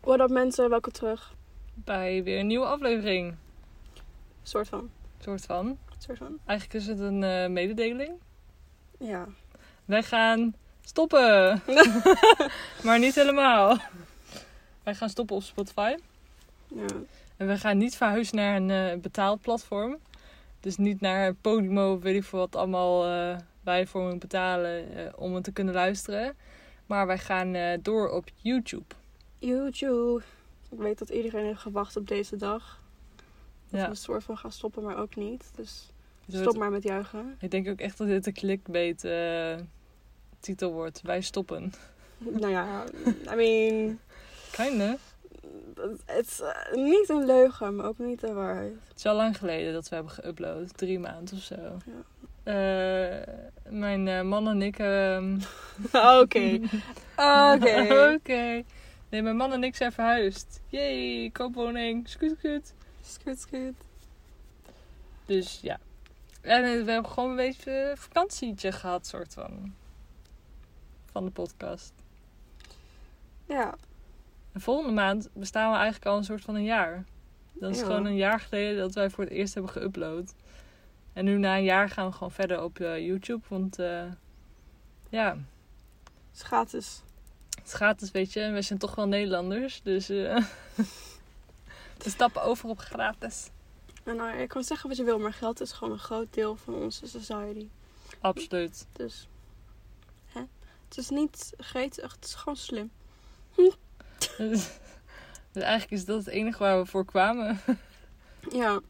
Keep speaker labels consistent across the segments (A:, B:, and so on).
A: What up mensen, welkom terug.
B: bij weer een nieuwe aflevering.
A: Soort van.
B: Soort van.
A: Soort van.
B: Eigenlijk is het een eh, mededeling.
A: Ja.
B: Wij gaan stoppen. maar niet helemaal. Wij gaan stoppen op Spotify.
A: ja.
B: En we gaan niet verhuizen naar een eh, betaald platform. Dus niet naar Podimo, weet ik veel wat allemaal eh, wij voor moeten betalen eh, om het te kunnen luisteren. Maar wij gaan eh, door op YouTube.
A: YouTube. Ik weet dat iedereen heeft gewacht op deze dag. Dat
B: Ja.
A: we een soort van gaan stoppen, maar ook niet. Dus
B: Dus
A: stop maar met juichen.
B: Ik denk ook echt dat dit een clickbait eh, titel wordt. Wij stoppen.
A: nou ja, I mean...
B: Kinda.
A: Het is eh, niet een leugen, maar ook niet de waarheid.
B: Het is al lang geleden dat we hebben geüpload. Drie maanden of zo. Eh, mijn eh, man en ik... ehm,
A: Oké. Oké.
B: Oké. Nee, mijn man en ik zijn verhuisd. Yay, koopwoning. Scoot, scoot.
A: Scoot, scoot.
B: Dus ja. En eh, we hebben gewoon een beetje eh, vakantietje gehad, soort van. Van de podcast.
A: Ja.
B: En volgende maand bestaan we eigenlijk al een soort van een jaar. Dat is
A: Ja.
B: gewoon een jaar geleden dat wij voor het eerst hebben geüpload. En nu na een jaar gaan we gewoon verder op eh, YouTube. Want eh, ja,
A: Het is gratis.
B: het is gratis, weet je. En wij zijn toch wel Nederlanders. Dus eh, we stappen over op gratis.
A: En nou, je kan zeggen wat je wil, maar geld is gewoon een groot deel van onze society.
B: Absoluut.
A: Dus. Hè? Het is niet gretig, het is gewoon slim.
B: dus dus eigenlijk is dat het enige waar we voor kwamen.
A: Ja,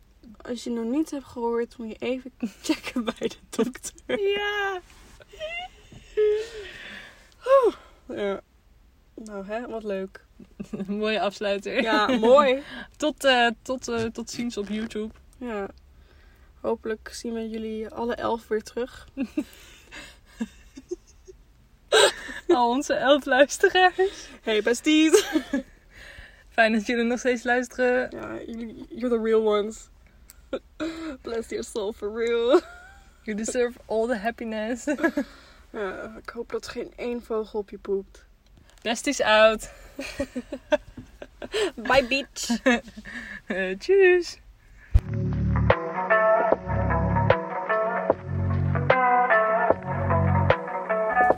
A: als je nog niet hebt gehoord, moet je even checken bij de dokter.
B: ja!
A: Ja. Nou, hè, wat leuk.
B: Mooie afsluiter.
A: Ja, mooi.
B: Tot, eh, tot, eh, tot ziens op YouTube.
A: Ja. Hopelijk zien we jullie alle elf weer terug.
B: Al onze elf luisteraars.
A: Hey, besties!
B: Fijn dat jullie nog steeds luisteren.
A: Ja, jullie, you're the real ones. Bless your soul for real.
B: You deserve all the happiness.
A: Ja, ik hoop dat geen één vogel op je poept.
B: Best is out.
A: Bye, bitch!
B: Eh, tjus.